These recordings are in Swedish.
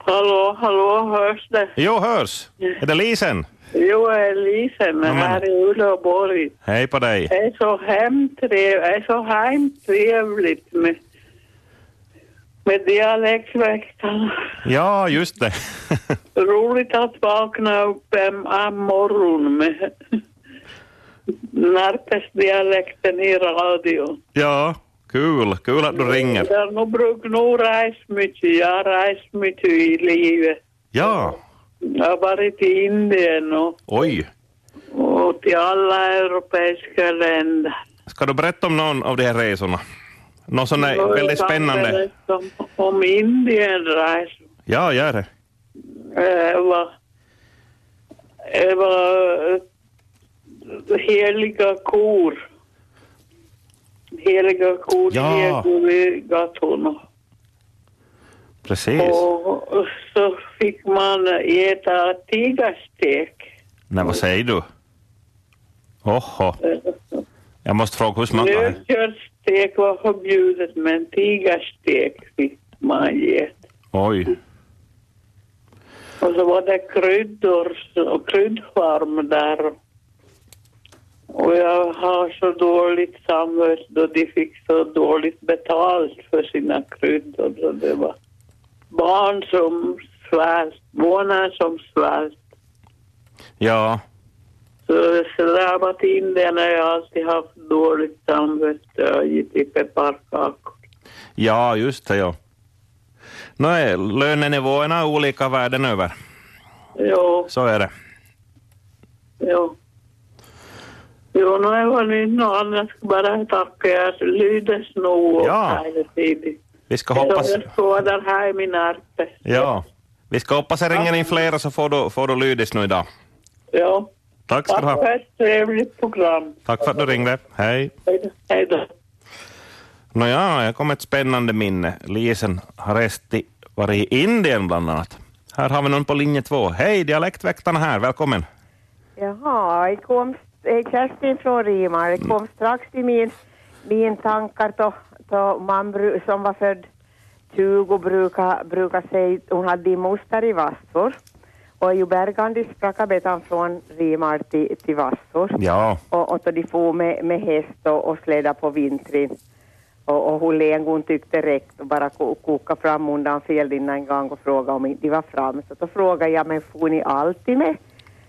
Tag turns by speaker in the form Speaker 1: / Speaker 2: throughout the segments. Speaker 1: Hallå, hallå, hörs det?
Speaker 2: Jo, hörs! Är det Lisen?
Speaker 1: Jo, jag är Lisen, men
Speaker 2: Amen.
Speaker 1: här i Uleåborg.
Speaker 2: Hej på dig!
Speaker 1: Det är så hemtrevligt, är så hemtrevligt med, med dialektväktarna.
Speaker 2: Ja, just det.
Speaker 1: Roligt att vakna upp en en morgon med Närpesdialekten i radio.
Speaker 2: ja, kul. Kul att du ringer.
Speaker 1: Det har nog brukat nog resa mycket. Jag har rest mycket i livet.
Speaker 2: Ja,
Speaker 1: Jag har varit i Indien och,
Speaker 2: oj.
Speaker 1: och till alla europeiska länder.
Speaker 2: Ska du berätta om någon av de här resorna? Någon sån där
Speaker 1: Och
Speaker 2: väldigt
Speaker 1: jag kan
Speaker 2: spännande?
Speaker 1: berätta Om, om Indienresan.
Speaker 2: Ja, gör det.
Speaker 1: Det var, det var eh, heliga kor. Heliga kor,
Speaker 2: Ja.
Speaker 1: heliga i gatorna.
Speaker 2: Precis.
Speaker 1: Och så fick man äta tigerstek.
Speaker 2: Nej, vad säger du? Oho. Jag måste fråga hur smakar det?
Speaker 1: Nötköttstek var förbjudet, men tigerstek fick man ge.
Speaker 2: Oj.
Speaker 1: Och så var det kryddor och kryddfarm där. Och jag har så dåligt samvete då de fick så dåligt betalt för sina kryddor. Så det var barn som svält, månader som svält.
Speaker 2: Ja,
Speaker 1: Så slarvat in det när jag alltid haft dåligt samvete. Jag har gett pepparkakor.
Speaker 2: ja just det, ja. Nåja, lönenivåerna är olika världen över.
Speaker 1: Jo,
Speaker 2: Så är det.
Speaker 1: jo. Jo, nu har jag nytt något annat. Jag ska bara tacka. Jag lyder nog och
Speaker 2: Ja.
Speaker 1: här tidigt.
Speaker 2: Vi ska
Speaker 1: Så
Speaker 2: hoppas...
Speaker 1: jag skådar här i min arpe.
Speaker 2: Ja. Vi ska hoppas det ringer in flera så får du, får du lydis nu idag.
Speaker 1: Ja.
Speaker 2: Tack ska
Speaker 1: Tack
Speaker 2: du ha.
Speaker 1: för ett trevligt program.
Speaker 2: Tack för att du ringde. Hej.
Speaker 1: Hej då. Hej då.
Speaker 2: Nåja, jag kom ett spännande minne. Lisen har rest i, varit i Indien bland annat. Här har vi någon på linje två. Hej, dialektväktarna här. Välkommen.
Speaker 3: Jaha, jag kom, jag är Kerstin från Rimar. Jag kom strax till min, min tankar då, då man bru, som var född 20 brukar bruka säga, hon hade en moster i Vassor och ju bergandis sprakabetan från Rimar till, till Vassor
Speaker 2: Ja,
Speaker 3: och, och då de for med, med häst och, och släda på vintern. Och, och hon len, hon tyckte räckt och bara ko, koka fram undan fel innan en gång och fråga om inte de var fram. Så då frågade jag, men for ni alltid med,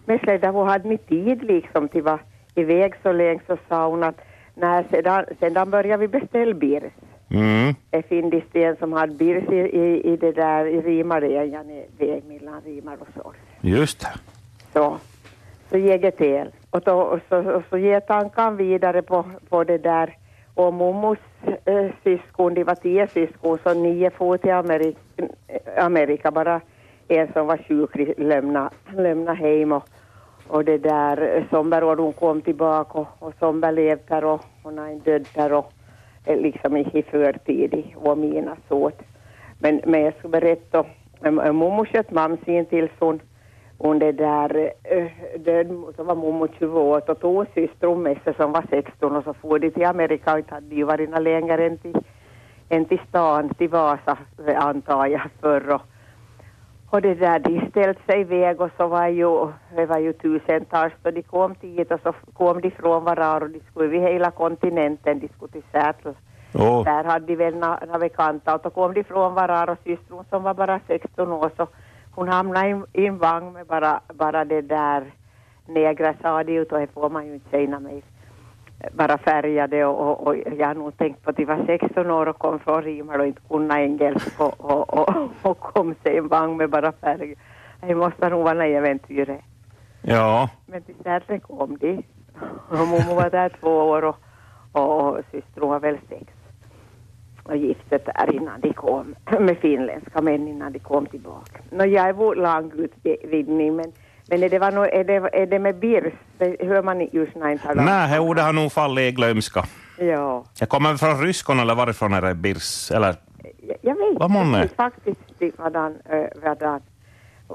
Speaker 3: med släda? Hur hade ni tid liksom till var iväg så länge? Så sa hon att när sedan, sedan började vi beställa birs.
Speaker 2: mm.
Speaker 3: Det finns det en som hade birs i, i, i det där i Rimaröjan, väg mellan Rimar och Sors.
Speaker 2: just det.
Speaker 3: Så, så ger jag till. Och, då, och, så, och så ger tankan vidare på, på det där. Och mommos eh, syskon, de var tio syskon, så nio for till Amerika, Amerika. Bara en som var sjuk lämna, lämna hem och, och det där. eh, Somberår hon kom tillbaka och, och Somber levde där och hon har en död där och eh, liksom i i förtid i och mina såt. Men, men jag ska berätta, om- om mommo sköt mamma sin tills hon hon det där, eh, död, så var mormor 20 år och två systrar och mäster som var 16 och så for de till Amerika och inte hade ju varit några längre än till, än till stan, till Vasa eh, antar jag förr. Och, och det där, de ställde sig iväg och så var ju, det var ju tusentals och de kom dit och så kom de från varandra och de skulle över hela kontinenten, de skulle till Seattle.
Speaker 2: Åh,
Speaker 3: Där hade de väl några några bekanta och då kom de från varandra och systern som var bara 16 år så hon hamnade i en- i en vagn med bara, bara det där negra sa de ut och det får man ju inte säga när man är bara färgade och, och, och jag har nog tänkt på att de var 16 år och kom från Rimal och inte kunde engelska och, och, och, och kom sig i en vagn med bara färg. Det måste nog vara något äventyr.
Speaker 2: ja.
Speaker 3: Men till Sätre kom de. Och mormor var där två år och, och, och systern var väl sex. Och gifte där innan de kom med finländska män innan de kom tillbaka. Nå, jag är vår langutvidgning men, men är det, var nog, är det, är det med birs? Det hör man inte just när en talar om-
Speaker 2: Nej, det ordet har nog fallit i glömska.
Speaker 3: Ja,
Speaker 2: Jag kommer från Ryskon eller varifrån är det? Birs? Eller?
Speaker 3: jag, jag vet
Speaker 2: Vad månne?
Speaker 3: inte faktiskt vadan, eh, vadan.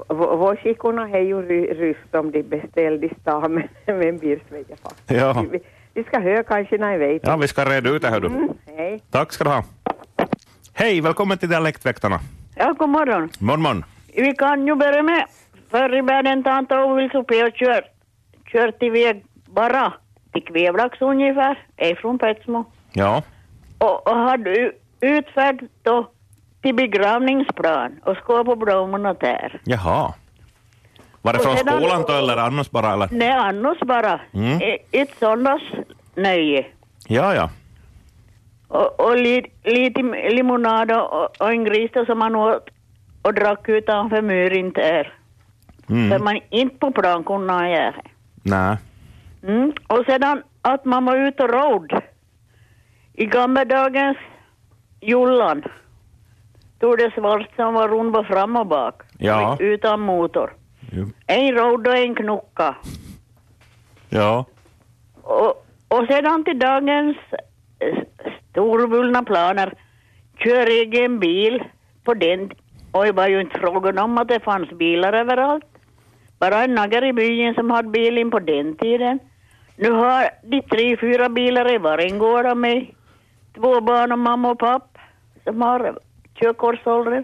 Speaker 3: Vårskikorna är ju ry- ryskt om de beställde i stan men, men birs vet jag faktiskt.
Speaker 2: Ja.
Speaker 3: Vi, vi ska höra kanske när jag vet.
Speaker 2: ja, vi ska reda ut det här du.
Speaker 3: Mm, hej.
Speaker 2: Tack ska du ha. Hej, välkommen till Dialektväktarna.
Speaker 4: Ja, god morgon.
Speaker 2: Morgon, morgon.
Speaker 4: vi kan ju börja med, förr i världen tant Ovilsupi och kört, kört iväg bara till Kvävlax ungefär, ifrån Petsmo.
Speaker 2: Ja.
Speaker 4: Och, och hade u- utfärd då till begravningsplan och skåp på blommorna där.
Speaker 2: Jaha. Var det från
Speaker 4: Och sedan-
Speaker 2: skolan då eller annars bara? Eller?
Speaker 4: Nej, annars bara
Speaker 2: Mm.
Speaker 4: e- ett söndagsnöje.
Speaker 2: Ja, ja.
Speaker 4: Och, och li, lite limonad och, och en gris då som man åt och drack utanför muren där. För
Speaker 2: Mm.
Speaker 4: man inte på plan kunde ha göra.
Speaker 2: Nej.
Speaker 4: Mm. Och sedan att man var ute och råd. I gamla dagens jullan tog det svart som var rund på fram och bak.
Speaker 2: Ja.
Speaker 4: Utan motor.
Speaker 2: Jo.
Speaker 4: En råd och en knucka.
Speaker 2: Ja.
Speaker 4: Och, och sedan till dagens eh, storvulna planer. Kör egen bil på den. Och det var ju inte frågan om att det fanns bilar överallt. Bara en naggar i byn som hade bilen på den tiden. Nu har de tre, fyra bilar i varje gård av mig. Två barn och mamma och papp som har körkortsåldern.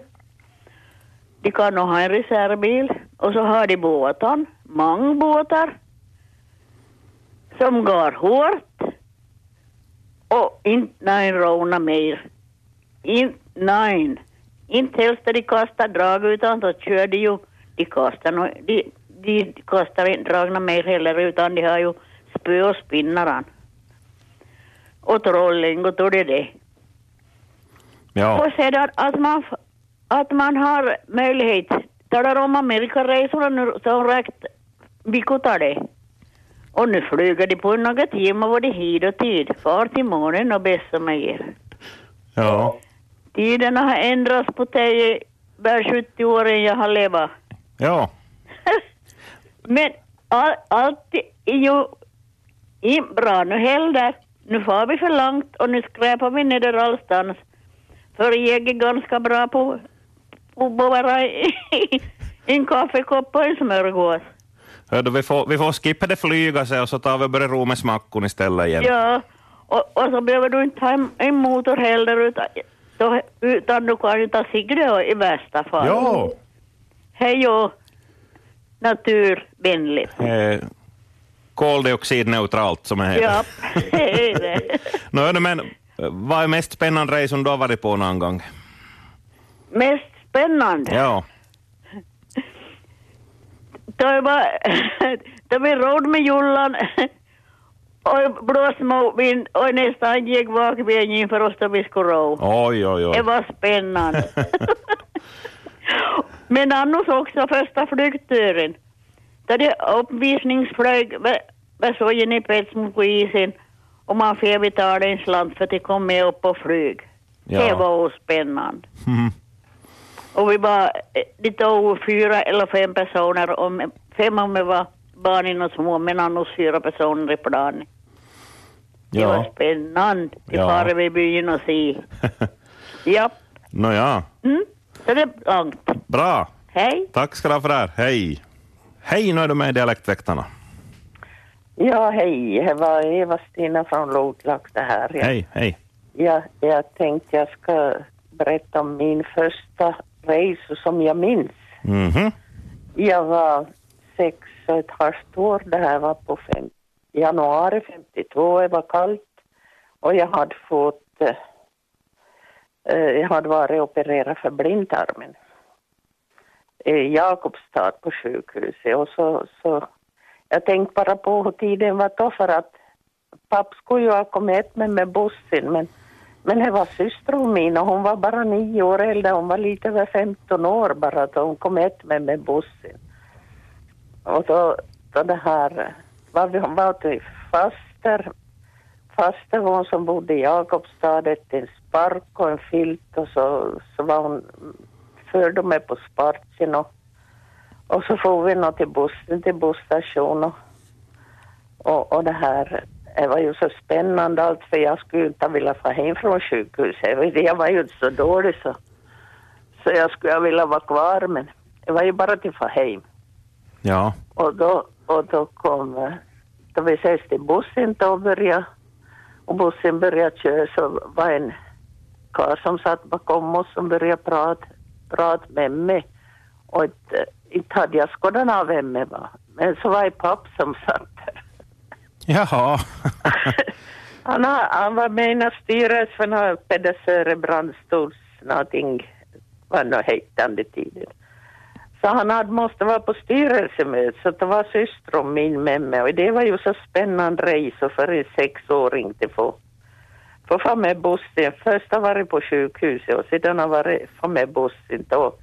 Speaker 4: De kan nog ha en reservbil. Och så har de båten, många båtar som går hårt och inte någon råna mer. Inte någon. Inte helst att de kastar drag utan då kör de ju. De kastar, nå- de, de kastar inte dragna mer heller utan de har ju spö och spinnaran. Och trolling och då det det.
Speaker 2: Ja.
Speaker 4: Och sedan att man, f- att man har möjlighet. Talar om Amerikaresorna nu som räckt veckotar det. Och nu flyger de på några timmar var det hit och tid. Far till månen och bäst som är.
Speaker 2: Ja.
Speaker 4: Tiderna har ändrats på tio, var 70 åren jag har levat.
Speaker 2: Ja.
Speaker 4: Men all, allt är ju inte bra nu heller. Nu far vi för långt och nu skräpar vi ner allstans. För jag är ganska bra på, på bara en kaffekopp och en smörgås.
Speaker 2: Hör du, vi, får, vi får skippa det flyga sig och så tar vi och börjar ro med smackon istället igen.
Speaker 4: Ja, och, och så behöver du inte ha en, en motor heller utan, då, utan du kan ju ta Sigrid i värsta fall.
Speaker 2: Ja.
Speaker 4: Hej och naturvänligt.
Speaker 2: Eh, koldioxidneutralt som det heter.
Speaker 4: Ja, det är det.
Speaker 2: Nå, hördu, men eh, vad är mest spännande resan du har varit på någon gång?
Speaker 4: Mest spännande.
Speaker 2: Ja.
Speaker 4: Det var, det var råd med jullan och blåsmåvind och nästan gick bakvägen för oss då vi skulle ro.
Speaker 2: Oj, oj,
Speaker 4: Det
Speaker 2: oj.
Speaker 4: var spännande. Men annars också första flygturen. Där det uppvisningsflög var sågen i Petsmo på isen och man fick betala en slant för att det kom med upp på flyg. Det
Speaker 2: Ja.
Speaker 4: var spännande.
Speaker 2: Mm.
Speaker 4: Och vi var, eh, det tog fyra eller fem personer, om, fem om vi var barnen och små, men annars fyra personer i planet. Det var
Speaker 2: Ja.
Speaker 4: spännande. Vi
Speaker 2: Ja.
Speaker 4: far över byn och se. ja.
Speaker 2: Nåja,
Speaker 4: Mm. Så det är långt.
Speaker 2: bra.
Speaker 4: Hej.
Speaker 2: Tack ska du ha för det här. Hej. Hej, nu är du med i Dialektväktarna.
Speaker 5: Ja, hej. Det var Eva-Stina från Lodlax det här. Jag,
Speaker 2: Hej, hej.
Speaker 5: jag, jag tänkte jag ska berätta om min första resa som jag minns.
Speaker 2: Mhm.
Speaker 5: Jag var sex och ett halvt år. Det här var på fem, januari 52. Det var kallt och jag hade fått... eh, Eh, jag hade varit opererad för blindtarmen i Jakobstad på sjukhuset. Och så, så, jag tänkte bara på hur tiden var då för att papp skulle ju ha kommit hit med, med bussen men, men det var syster min och hon var bara nio år äldre, hon var lite över 15 år bara då hon kom hit med, med bussen. Och då, då det här var vi var till faster, faster var hon som bodde i Jakobstad, ett- en spark och en filt och så, så var hon, förde hon mig på sparken och, och så for vi nog till bussen, till busstationen och och, och det här det var ju så spännande allt för jag skulle inte vilja få hem från sjukhuset. Jag vet, Jag var ju inte så dålig så, så jag skulle ha vilja vara kvar men det var ju bara till att få hem.
Speaker 2: Ja.
Speaker 5: Och då, och då kom, eh, då vi ses till bussen då började, och bussen började köra så var en karl som satt bakom oss som började prata, prata med mig Och inte, inte hade jag skådan av hemma. va. Men så var det papp som satt där.
Speaker 2: Jaha.
Speaker 5: Han, har, han var med i någon styrelse för några Pedersöre brandstols någonting, vad nu hette han det tiden. Så han hade, måste vara på styrelsemöte, så det var systern min med mig och det var ju så spännande resa för en sexåring att få, få fara med bussen. Först har varit på sjukhuset och sedan har varit fara med bussen. Då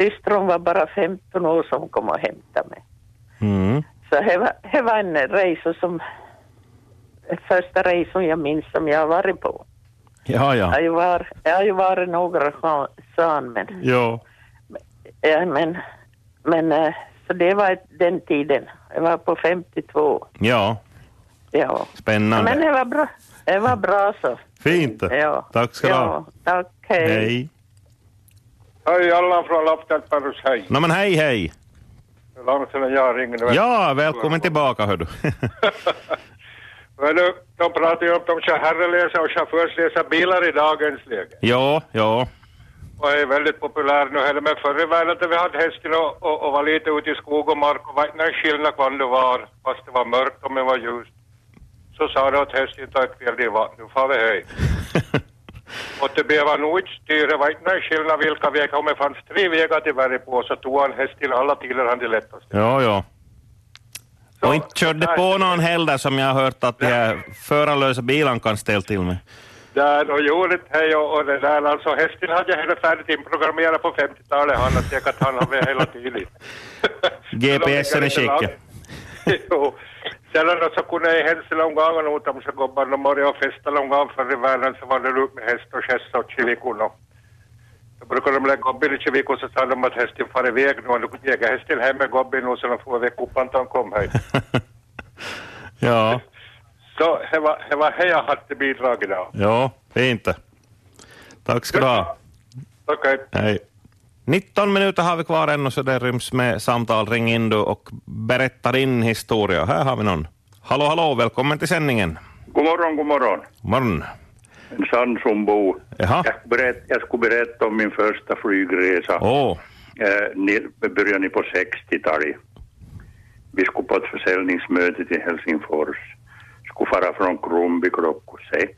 Speaker 5: systern var bara 15 år som kom och hämtade mig.
Speaker 2: Mm.
Speaker 5: Så det var, det var en resa som, första resan jag minns som jag har varit på.
Speaker 2: Ja,
Speaker 5: Jag har
Speaker 2: ja.
Speaker 5: ju varit, jag har ju varit några sa- sån, men,
Speaker 2: Jo.
Speaker 5: ja, men, men eh, så det var den tiden. Jag var på 52.
Speaker 2: Ja,
Speaker 5: Ja. Men
Speaker 2: spännande.
Speaker 5: det var bra. Det var bra så.
Speaker 2: Fint.
Speaker 5: Ja.
Speaker 2: Tack ska du ha.
Speaker 5: ja, Tack, hej.
Speaker 2: Hej.
Speaker 6: Hej, Allan från Lapptältbergs, hej.
Speaker 2: No men hej, hej.
Speaker 6: Det var länge sedan jag ringde. vet du.
Speaker 2: Ja, välkommen tillbaka hör du.
Speaker 6: Men du, de pratar ju om de kör herrelösa och chaufförslösa bilar i dagens läge.
Speaker 2: ja, ja.
Speaker 6: Och är väldigt populär nu heller. Men förr i världen när vi hade hästen och, och, och var lite ute i skog och mark och var inte någon skillnad vad det var, fast det var mörkt och det var ljust. Så sa de att hästen tar kväll i vatten, nu far vi höj. Och det blev nog inte styr, det var inte någon skillnad vilka vägar, om det fanns tre vägar till varje på så tog han häst till alla tider han det lättaste.
Speaker 2: Ja, ja.
Speaker 6: Så-
Speaker 2: Och inte körde på någon heller som jag har hört att de här förarlösa bilarna kan ställa till med.
Speaker 6: Där och gjorde hej och, och det där alltså. Hästen hade jag hela färdigt inprogrammerad på 50-talet. Han har säkert han har med hela tiden.
Speaker 2: GPSen är skickad.
Speaker 6: Jo. Sen då så kunde jag hälsa långa gången åt dem så gubbarna de började och festa långa gången förr i världen så var det lugnt med häst och kärsa och kivikorna. Då brukade de lägga gubben i kivikor så sa de att hästen far iväg nu och då kunde jag hästen hem med gubben och så de får iväg koppan till han kom hit.
Speaker 2: Ja,
Speaker 6: Så det var det var här jag hade bidrag idag.
Speaker 2: ja, fint. Tack ska du ha.
Speaker 6: Tack hej.
Speaker 2: Hej. 19 minuter har vi kvar ännu så det ryms med samtal. Ring in du och berätta din historia. Här har vi någon. Hallå, hallå, välkommen till sändningen.
Speaker 7: God morgon, god morgon.
Speaker 2: Morgon.
Speaker 7: En Sandsombo.
Speaker 2: Jaha.
Speaker 7: Jag, berätt, jag skulle berätta om min första flygresa.
Speaker 2: Åh,
Speaker 7: Eh, ni, början ni på 60-talet. Vi skulle på ett försäljningsmöte till Helsingfors. Skulle fara från Krumby klockan sex.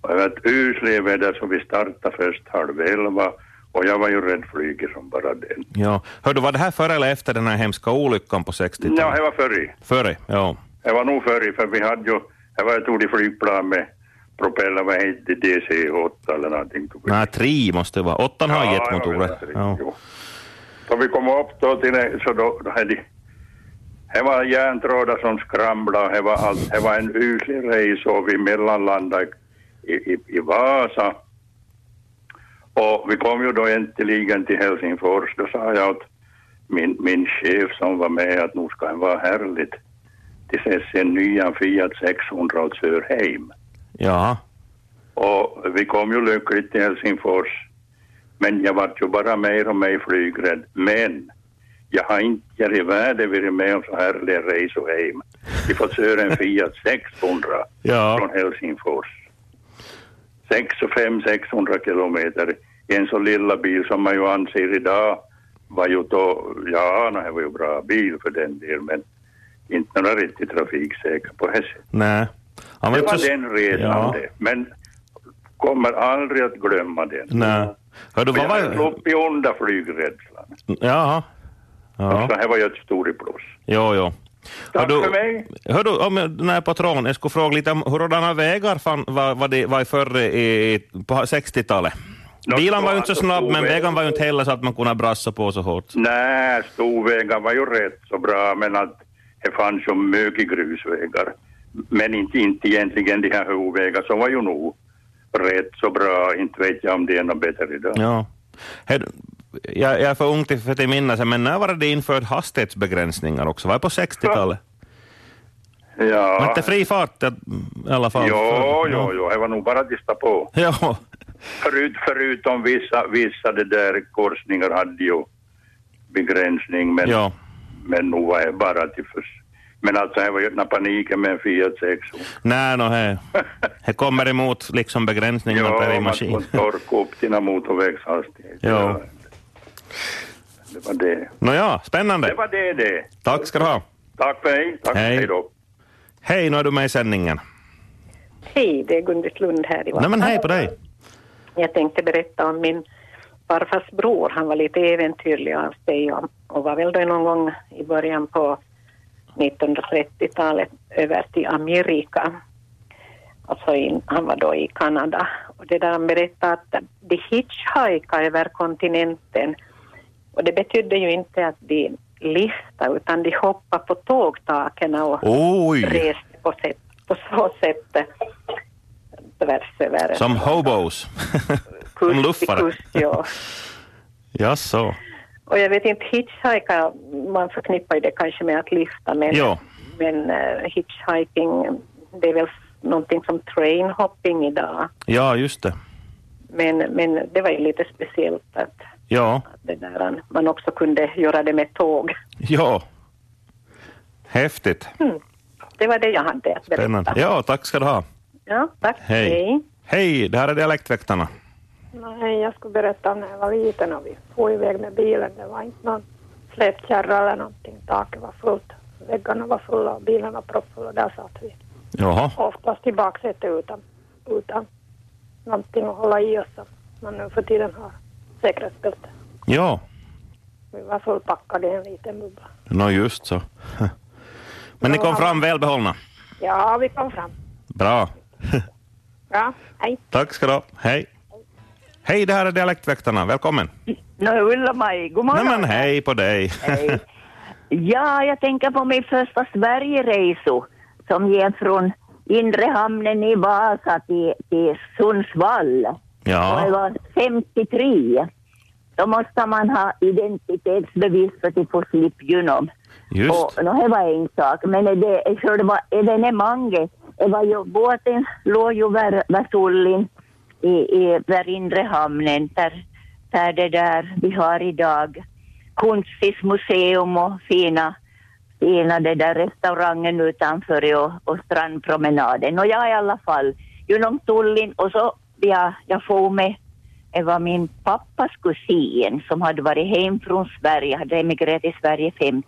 Speaker 7: Och det var ett usligt väder så vi startade först halv elva och jag var ju rädd flyget som bara den.
Speaker 2: ja. Hör du, var det här före eller efter den här hemska olyckan på 60-talet?
Speaker 7: Ja, det var förr. i.
Speaker 2: Före, ja.
Speaker 7: Det var nog förr, för vi hade ju, det var ett roligt flygplan med propeller, vad hette det, DC-8 eller någonting. tog vi.
Speaker 2: Nej, tre måste det vara. Åttan har
Speaker 7: Ja,
Speaker 2: jetmotorer.
Speaker 7: jag vet
Speaker 2: Ja.
Speaker 7: inte, jo. Så vi kom upp då till det, så då, då hade det var järntrådar som skramlade, det var, allt, det var en usel resa och vi mellanlandade i, i, i Vasa. Och vi kom ju då äntligen till Helsingfors, då sa jag åt min, min chef som var med att nu ska det vara härligt. Det ses en nya Fiat 600 åt Sörheim.
Speaker 2: ja.
Speaker 7: Och vi kom ju lyckligt till Helsingfors. Men jag var ju bara mer och mer flygrädd. Men jag har inte jag i världen varit med om så härliga resor hem. Vi får köra en Fiat 600
Speaker 2: Ja.
Speaker 7: från Helsingfors. 600-600 kilometer i en så lilla bil som man ju anser idag var ju då, ja, nej, det var ju bra bil för den delen, men inte några riktigt trafiksäkra på det sättet.
Speaker 2: Nej. Han
Speaker 7: Det
Speaker 2: inte
Speaker 7: var
Speaker 2: så-
Speaker 7: den resan
Speaker 2: Ja.
Speaker 7: det. Men kommer aldrig att glömma den.
Speaker 2: Nej. Hör du,
Speaker 7: För
Speaker 2: vad var
Speaker 7: Jag slopp i onda flygrädslan.
Speaker 2: Jaha. Ja.
Speaker 7: Så här var ju ett stort plus.
Speaker 2: Jo, jo.
Speaker 7: Tack
Speaker 2: du,
Speaker 7: för mig.
Speaker 2: Hör du, om jag, när patron, jag skulle fråga lite om hurdana vägar fan, var, var, det, var förr i, i- på 60-talet?
Speaker 7: Nå,
Speaker 2: Bilen
Speaker 7: så
Speaker 2: var ju inte så
Speaker 7: alltså,
Speaker 2: snabb, men
Speaker 7: storvägar.
Speaker 2: vägen var ju inte heller så att man kunde brassa på så hårt.
Speaker 7: Nej, storvägar var ju rätt så bra, men att det fanns ju mycket grusvägar. Men inte, inte egentligen de här huvudvägar som var ju nog rätt så bra. Inte vet jag om det är något bättre idag.
Speaker 2: Ja. Hör du, jag, jag är för ung till, för till minnas, men när var det infört hastighetsbegränsningar också? Var det på 60-talet? Var
Speaker 7: Ja,
Speaker 2: inte fri fart i alla fall?
Speaker 7: jo,
Speaker 2: förr?
Speaker 7: jo, jo. Det var nog bara att gissa på.
Speaker 2: Ja,
Speaker 7: Förut, förutom vissa, vissa det där korsningar hade ju begränsning, men,
Speaker 2: ja.
Speaker 7: men nu var det bara till förs. Men alltså, det var ju den paniken med en Fiat 600.
Speaker 2: Nej, no, he. he kommer emot liksom begränsningar per
Speaker 7: man
Speaker 2: maskin.
Speaker 7: får torka upp sina motorvägshastigheter.
Speaker 2: Ja.
Speaker 7: Det var det.
Speaker 2: Nåja,
Speaker 7: Det
Speaker 2: spännande.
Speaker 7: var det det.
Speaker 2: Tack ska du ha.
Speaker 7: Tack för hej. Tack,
Speaker 2: Hej.
Speaker 7: hej då.
Speaker 2: Hej, nu är du med i sändningen.
Speaker 3: Hej, det är Gunvit Lund här i
Speaker 2: Nej men
Speaker 3: Vasa.
Speaker 2: hej på dig.
Speaker 3: Jag tänkte berätta om min farfars bror. Han var lite äventyrlig av sig och, och var väl då någon gång i början på 1930-talet över till Amerika. Alltså in, han var då i Kanada. Och det där han berättade att de hitchhikade över kontinenten. Och det betydde ju inte att de listade utan de hoppade på tågtaken och
Speaker 2: Oj,
Speaker 3: reste på, sätt, på så sätt tvärs över
Speaker 2: som hobos. som
Speaker 3: kust till
Speaker 2: luffare.
Speaker 3: kust. Ja.
Speaker 2: Jaså?
Speaker 3: Och jag vet inte, hitchhiker, man förknippar ju det kanske med att lyfta men,
Speaker 2: Ja.
Speaker 3: men eh, hitchhiking det är väl någonting som trainhopping idag.
Speaker 2: Ja, just det.
Speaker 3: Men, men det var ju lite speciellt att
Speaker 2: Ja,
Speaker 3: det där, man också kunde göra det med tåg.
Speaker 2: ja. Häftigt.
Speaker 3: Det var det jag hade att berätta.
Speaker 2: Spännande. Ja, tack ska du ha.
Speaker 3: Ja, tack.
Speaker 2: Hej. Hej, det här är Dialektväktarna.
Speaker 8: Nej, jag skulle berätta om när jag var liten och vi for iväg med bilen. Det var inte någon släpkärra eller någonting. Taket var fullt, väggarna var fulla och bilen var proppfull och där satt vi.
Speaker 2: Jaha.
Speaker 8: Oftast i baksätet utan, utan någonting att hålla i oss som man nu för tiden har säkerhetsbälte.
Speaker 2: Ja,
Speaker 8: Vi var fullpackade i en liten bubbla.
Speaker 2: nå just så. Men ni kom fram välbehållna.
Speaker 8: Ja, vi kom fram.
Speaker 2: Bra.
Speaker 8: Ja, hej.
Speaker 2: Tack ska du ha. Hej. Hej, det här är Dialektväktarna. Välkommen.
Speaker 9: Nå, Ulla-Maj, god
Speaker 2: Nej
Speaker 9: morgon.
Speaker 2: men hej på dig.
Speaker 9: Hej. Ja, jag tänker på min första Sverigereso som gick från inre hamnen i Vasa till, till Sundsvall. Och jag
Speaker 2: Ja,
Speaker 9: var 53. Då måste man ha identitetsbevis för att få slippa igenom.
Speaker 2: just.
Speaker 9: Och, no, det var en sak, men det, själva evenemanget, det var ju, båten låg ju vid Vasulin i, i där inre hamnen, där, där det där vi har idag Kunstis museum och fina, fina det där restaurangen utanför och, och strandpromenaden. Och jag i alla fall, genom Tullin och så jag, jag får med det var min pappas kusin som hade varit hem från Sverige, hade emigrerat till Sverige 50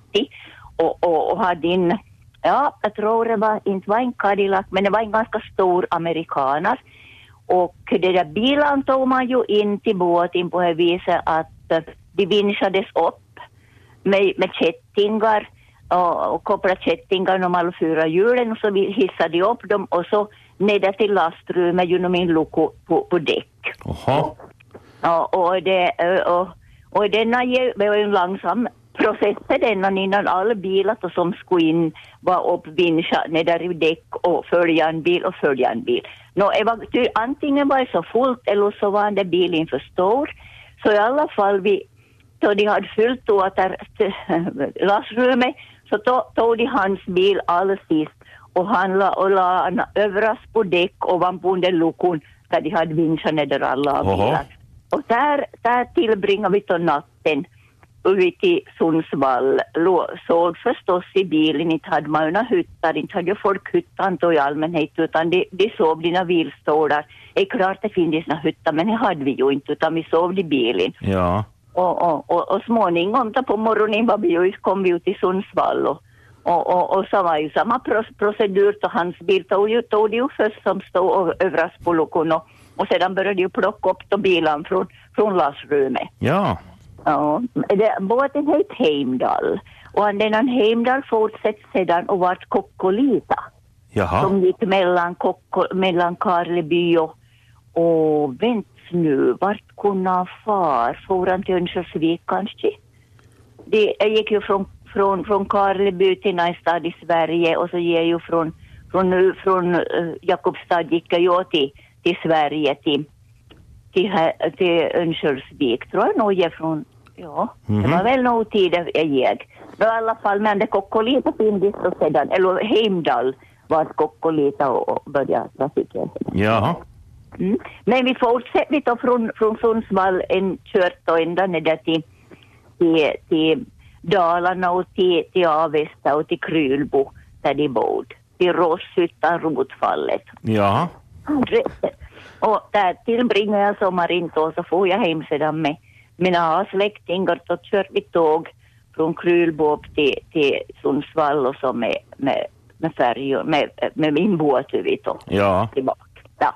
Speaker 9: och, och, och hade en, ja, jag tror det var, inte var en Cadillac, men det var en ganska stor amerikaner. Och det där bilen tog man ju in till båten på det viset att eh, de vinschades upp med, med kättingar och, och kopplade kättingarna om alla fyra hjulen och så vi hissade upp dem och så ner till lastrummet genom en lucka på, på däck.
Speaker 2: Jaha.
Speaker 9: Ja, och det, och, och denna ge- det var ju en långsam process för denna innan alla bilar då som skulle in var uppvinschade ner där i däck och följa en bil och följa en bil. Nå, det var, ty, antingen var det så fullt eller så var den där bilen för stor. Så i alla fall vi, då de hade fyllt åter lastrummet så to- tog de hans bil allra sist och han la, och la han överst på däck ovanpå den luckan där de hade vinschat ner där alla
Speaker 2: Oho.
Speaker 9: bilar. Och där, där tillbringade vi då natten ute i Sundsvall. Lå- Såg förstås i bilen, inte hade man ju några hyttar, inte hade ju folk hyttan då i allmänhet, utan de, de sov dina vilstålar. Det är klart det finns några hyttar, men det hade vi ju inte, utan vi sov i bilen.
Speaker 2: Ja.
Speaker 9: Och, och, och, och småningom då på morgonen var vi ju, kom vi ut till Sundsvall och, och, och, och så var ju samma pro- procedur då hans bil tog ju, tog det ju först som stod och överraskade på luckan och, och sedan började ju plocka upp då bilen från, från lastrummet.
Speaker 2: Ja.
Speaker 9: Ja, det, båten hette Heimdall och den här Heimdall fortsatte sedan och vart Kokkolita
Speaker 2: Jaha.
Speaker 9: som gick mellan, Kokko, mellan Karleby och, och vänta nu, vart kunde han far? For han till Örnsköldsvik kanske? Det, jag gick ju från, från, från Karleby till en stad i Sverige och så gick jag ju från, från, nu- från eh, Jakobstad gick jag ju till, till Sverige, till, till, här- till Örnsköldsvik tror jag nog jag från, ja, det
Speaker 10: Mhm.
Speaker 9: var väl nog tid jag gick. Men i alla fall, men det Kokkolita finns och sedan, eller Heimdall var Kokkolita och, och började trafiken.
Speaker 2: Jaha.
Speaker 9: Mm. Men vi fortsätter då från, från Sundsvall en kört då ända ner där till, till, till Dalarna och till, till Avesta och till Krylbo där de bor. Till Rosshyttan, Rotfallet.
Speaker 2: Jaha.
Speaker 9: Och där tillbringade jag sommaren då och så får jag hem sedan med, mina släktingar då kör vi tåg från Krylbo upp till, till Sundsvall och så med, med, med färjor, med, med min båt vi då.
Speaker 2: Ja.
Speaker 9: Tillbaka. Ja.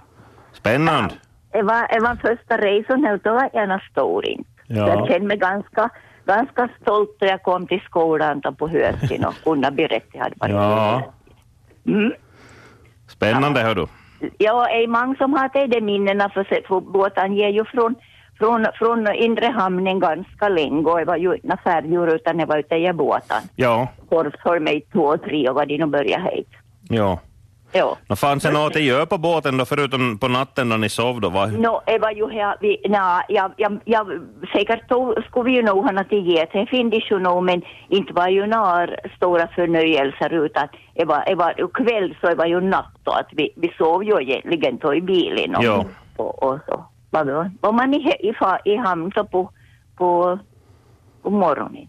Speaker 2: Spännande.
Speaker 9: Det var, det var första resan och då var jag nog stor inte.
Speaker 2: Ja.
Speaker 9: Så jag kände mig ganska, ganska stolt när jag kom till skolan då på hösten och kunde berätta att jag hade varit
Speaker 2: Ja.
Speaker 9: Mm.
Speaker 2: Spännande, hör du.
Speaker 9: Ja, är många som har tagit de minnena för, sig- för båten ger ju från, från, från inre hamnen ganska länge och det var ju inga färjor utan det var ute i båten.
Speaker 2: Ja,
Speaker 9: Korvsholm i två och tre och vad de nu började hit.
Speaker 2: ja.
Speaker 9: Ja.
Speaker 2: Nå, fanns det något att göra på båten då, förutom på natten när ni sov då? Va?
Speaker 9: Nå, det var ju här vi, na, jag, jag, jag, säkert tog, skulle vi ju nog ha till get, det finns ju nog, men inte var ju några stora förnöjelser utan det var, det var ju kväll så det var ju natt och att vi, vi sov ju egentligen då i bilen och,
Speaker 2: Ja.
Speaker 9: och, och så. Var, vi- var man i, he- i, fa- i hamn så på, på, på morgonen.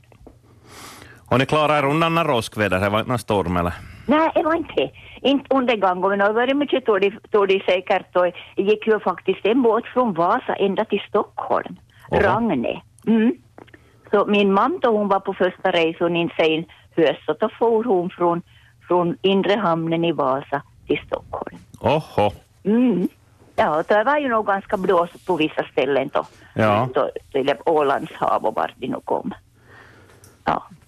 Speaker 2: Och ni klarar er undan när roskväder, det var inte någon storm eller?
Speaker 9: Nej, det var inte Inte undergången, men det var mycket dåligt, dåligt säkert och det gick ju faktiskt en båt från Vasa ända till Stockholm. Ragne. Mm. Så min mamma då hon var på första resan in sen höst, så då for hon från, från inre hamnen i Vasa till Stockholm.
Speaker 2: Oho,
Speaker 9: Mm. Ja, och det var ju nog ganska blåsigt på vissa ställen då.
Speaker 2: ja,
Speaker 9: då till det Ålands hav och vart det nu kom.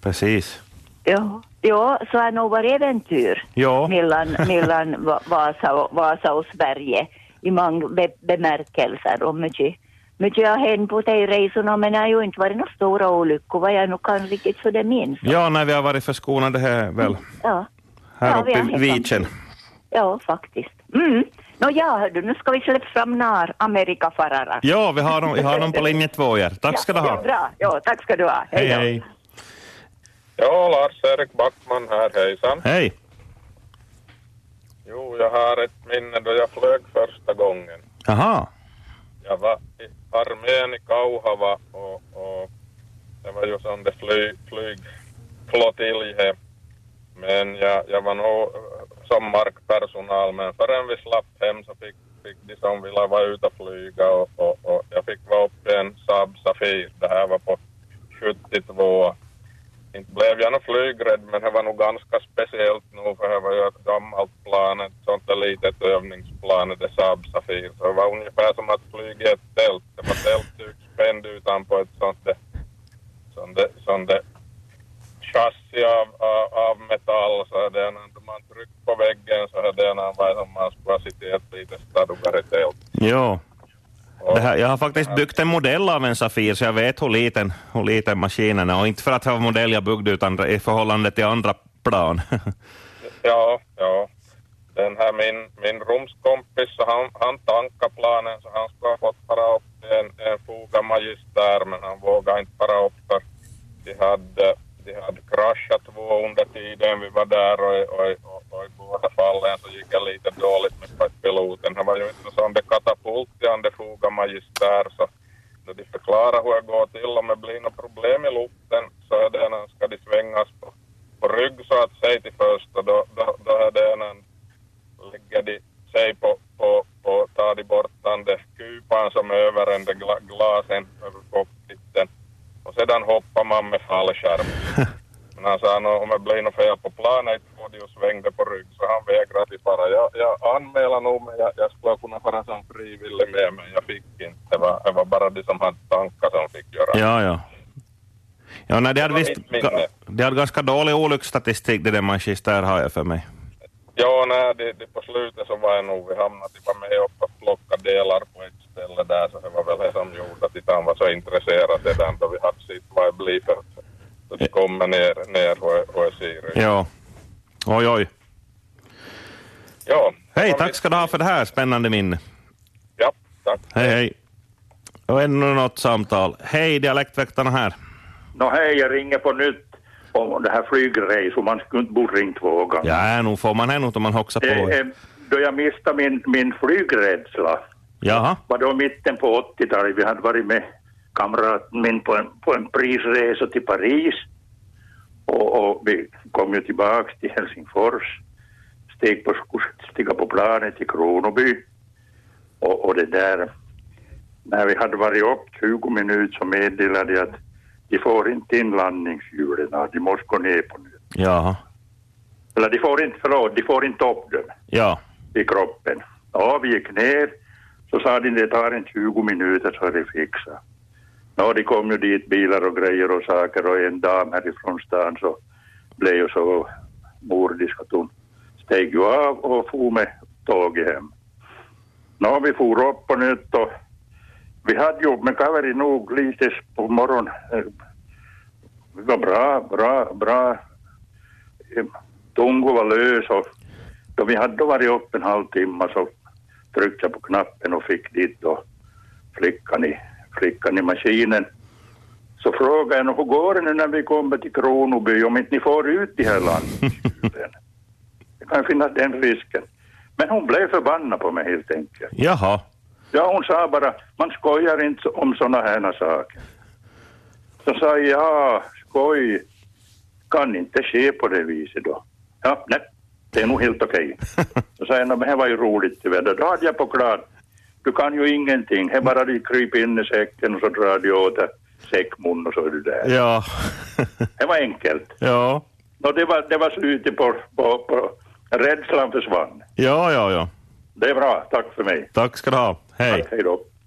Speaker 2: precis.
Speaker 9: Ja, ja så har nog varit äventyr
Speaker 2: Ja.
Speaker 9: mellan, mellan Va- Vasa, och, Vasa och Sverige i många be, bemärkelser. Och mycket, mycket har hänt på de resorna men det har ju inte varit några stora olyckor vad jag nu kan riktigt så det minns.
Speaker 2: Ja, när vi har varit förskonade här väl,
Speaker 9: Ja,
Speaker 2: här
Speaker 9: Ja,
Speaker 2: uppe
Speaker 9: vi
Speaker 2: i
Speaker 9: har
Speaker 2: viken.
Speaker 9: ja faktiskt. Mm. Nå ja, hördu, nu ska vi släppa fram när Amerikafararen.
Speaker 2: Ja, vi har dem, vi har dem på linje två här. Tack ska du
Speaker 9: Ja,
Speaker 2: ha.
Speaker 9: bra. Ja, tack ska du ha.
Speaker 2: Hej,
Speaker 9: då.
Speaker 2: hej.
Speaker 10: Ja, Lars-Erik Backman här, hejsan.
Speaker 2: Hej.
Speaker 10: Jo, jag har ett minne då jag flög första gången.
Speaker 2: Jaha,
Speaker 10: Jag var i armén i Kauhava och, och det var ju sån där fly, flygflottilj här. Men jag, jag var nog eh, som markpersonal, men förrän vi slapp hem så fick, fick de som ville vara ute och flyga och, och, och jag fick vara uppe i en Saab Safir. Det här var på 72. Inte blev jag nog flygrädd, men det var nog ganska speciellt nog för det var ju ett gammalt plan, ett sånt där litet övningsplan, det Saab Safir. Så det var ungefär som att flyga i ett tält. Det var tältduk spänd utanpå ett sånt där, sånt där, sånt där chassi av, av, av metall. Så hade en, när man tryckte på väggen så hade en varit som man skulle ha suttit i ett litet stadugare tält.
Speaker 2: ja. Det här, jag har faktiskt byggt en modell av en Safir, så jag vet hur liten, hur liten maskinen är. Och inte för att det var en modell jag byggde, utan i förhållande till andra plan.
Speaker 10: Ja, ja. Den här min, min rumskompis, så han, han tankade planen så han skulle ha fått para upp en, en Foga Magister men han vågade inte para upp för de hade, de hade kraschat två under tiden vi var där och, och, och, och i båda fallen så gick det lite dåligt med piloten. Han var ju inte sån där katapultjande Foga Magister så när de förklarade hur det går till om det blir något problem i luften så är det när ska de svängas på på rygg så att säga till först och då, då, då är det en, lägger de sig på, på, på tar de bort den där kupan som är över den där gla, glasen över cockpiten och sedan hoppar man med fallskärm. Men han sa "Nå, om det blir något fel på planet får de ju svänga på rygg så han vägrade att fara. Jag, jag anmälde nog men jag, jag skulle kunna fara som frivillig med men jag fick inte. Det var, det var bara de som hade tankar som fick göra det.
Speaker 2: Ja, ja. Ja, nej, det hade visst,
Speaker 10: mitt minne.
Speaker 2: ga- det hade ganska dålig olycksstatistik, det där Manchester har jag för mig.
Speaker 10: Ja, nej, det, det på slutet så var jag nog, vi hamnade bara med och plockade delar på ett ställe där, så det var väl det som gjorde att inte han var så intresserad sedan då vi hade sett vad det blir för så det kommer ner, ner och, och ser ut.
Speaker 2: Ja. Oj, oj.
Speaker 10: Ja,
Speaker 2: Hej, tack ska du ha för det här spännande minne.
Speaker 10: ja, tack.
Speaker 2: Hej, hej. Och ännu något samtal. Hej, dialektväktarna här.
Speaker 7: Nå hej, jag ringer på nytt om det här flygresor. Man skulle inte borde ringt två gånger.
Speaker 2: Ja, nu får man här nog om man hoxar
Speaker 7: Eh, eh,
Speaker 2: på.
Speaker 7: då jag miste min, min flygrädsla
Speaker 2: Jaha,
Speaker 7: var då mitten på 80-talet. Vi hade varit med kamraten min på en, på en prisresa till Paris och, och vi kom ju tillbaka till Helsingfors, steg på, stiga på planet till Kronoby och, och det där. när vi hade varit upp 20 minuter så meddelade jag att de får inte in landningshjulen, de måste gå ner på nu.
Speaker 2: Jaha.
Speaker 7: Eller de får inte, förlåt, de får inte upp dem
Speaker 2: Ja.
Speaker 7: i kroppen. Ja, vi gick ner, så sa de det tar en 20 minuter så är det fixat. Nå, det kom ju dit bilar och grejer och saker och en dam härifrån stan så blev ju så mordisk att hon steg ju av och for med tåget hem. Nå, vi for upp på nytt och vi hade ju med kaveri nog lite på morgon. eh, Vi var bra, bra, bra. eh, Tungo var lös och då vi hade varit uppe en halvtimme så tryckte jag på knappen och fick dit då flickan i, flickan i maskinen. Så frågade jag hur går det nu när vi kommer till Kronoby om inte ni får ut de här landningshjulen? Det kan finnas den risken. Men hon blev förbannad på mig helt enkelt.
Speaker 2: Jaha.
Speaker 7: Ja, hon sa bara, man skojar inte om sådana här saker. Så sa jag, ja, skoj kan inte ske på det viset då. Ja, nej, det är nog helt okej. Så sa jag, "Nå, men det var ju roligt tyvärr. Då hade jag på klart, du kan ju ingenting. Det är bara du kryper in i säcken och så drar du åt säckmun och så är du där.
Speaker 2: Ja.
Speaker 7: Det var enkelt.
Speaker 2: Ja.
Speaker 7: Och det var, det var slutet på, på, på, rädslan försvann.
Speaker 2: Ja, ja, ja.
Speaker 7: Det är bra, tack för mig.
Speaker 2: Tack ska du ha. Hej.
Speaker 7: Hej då.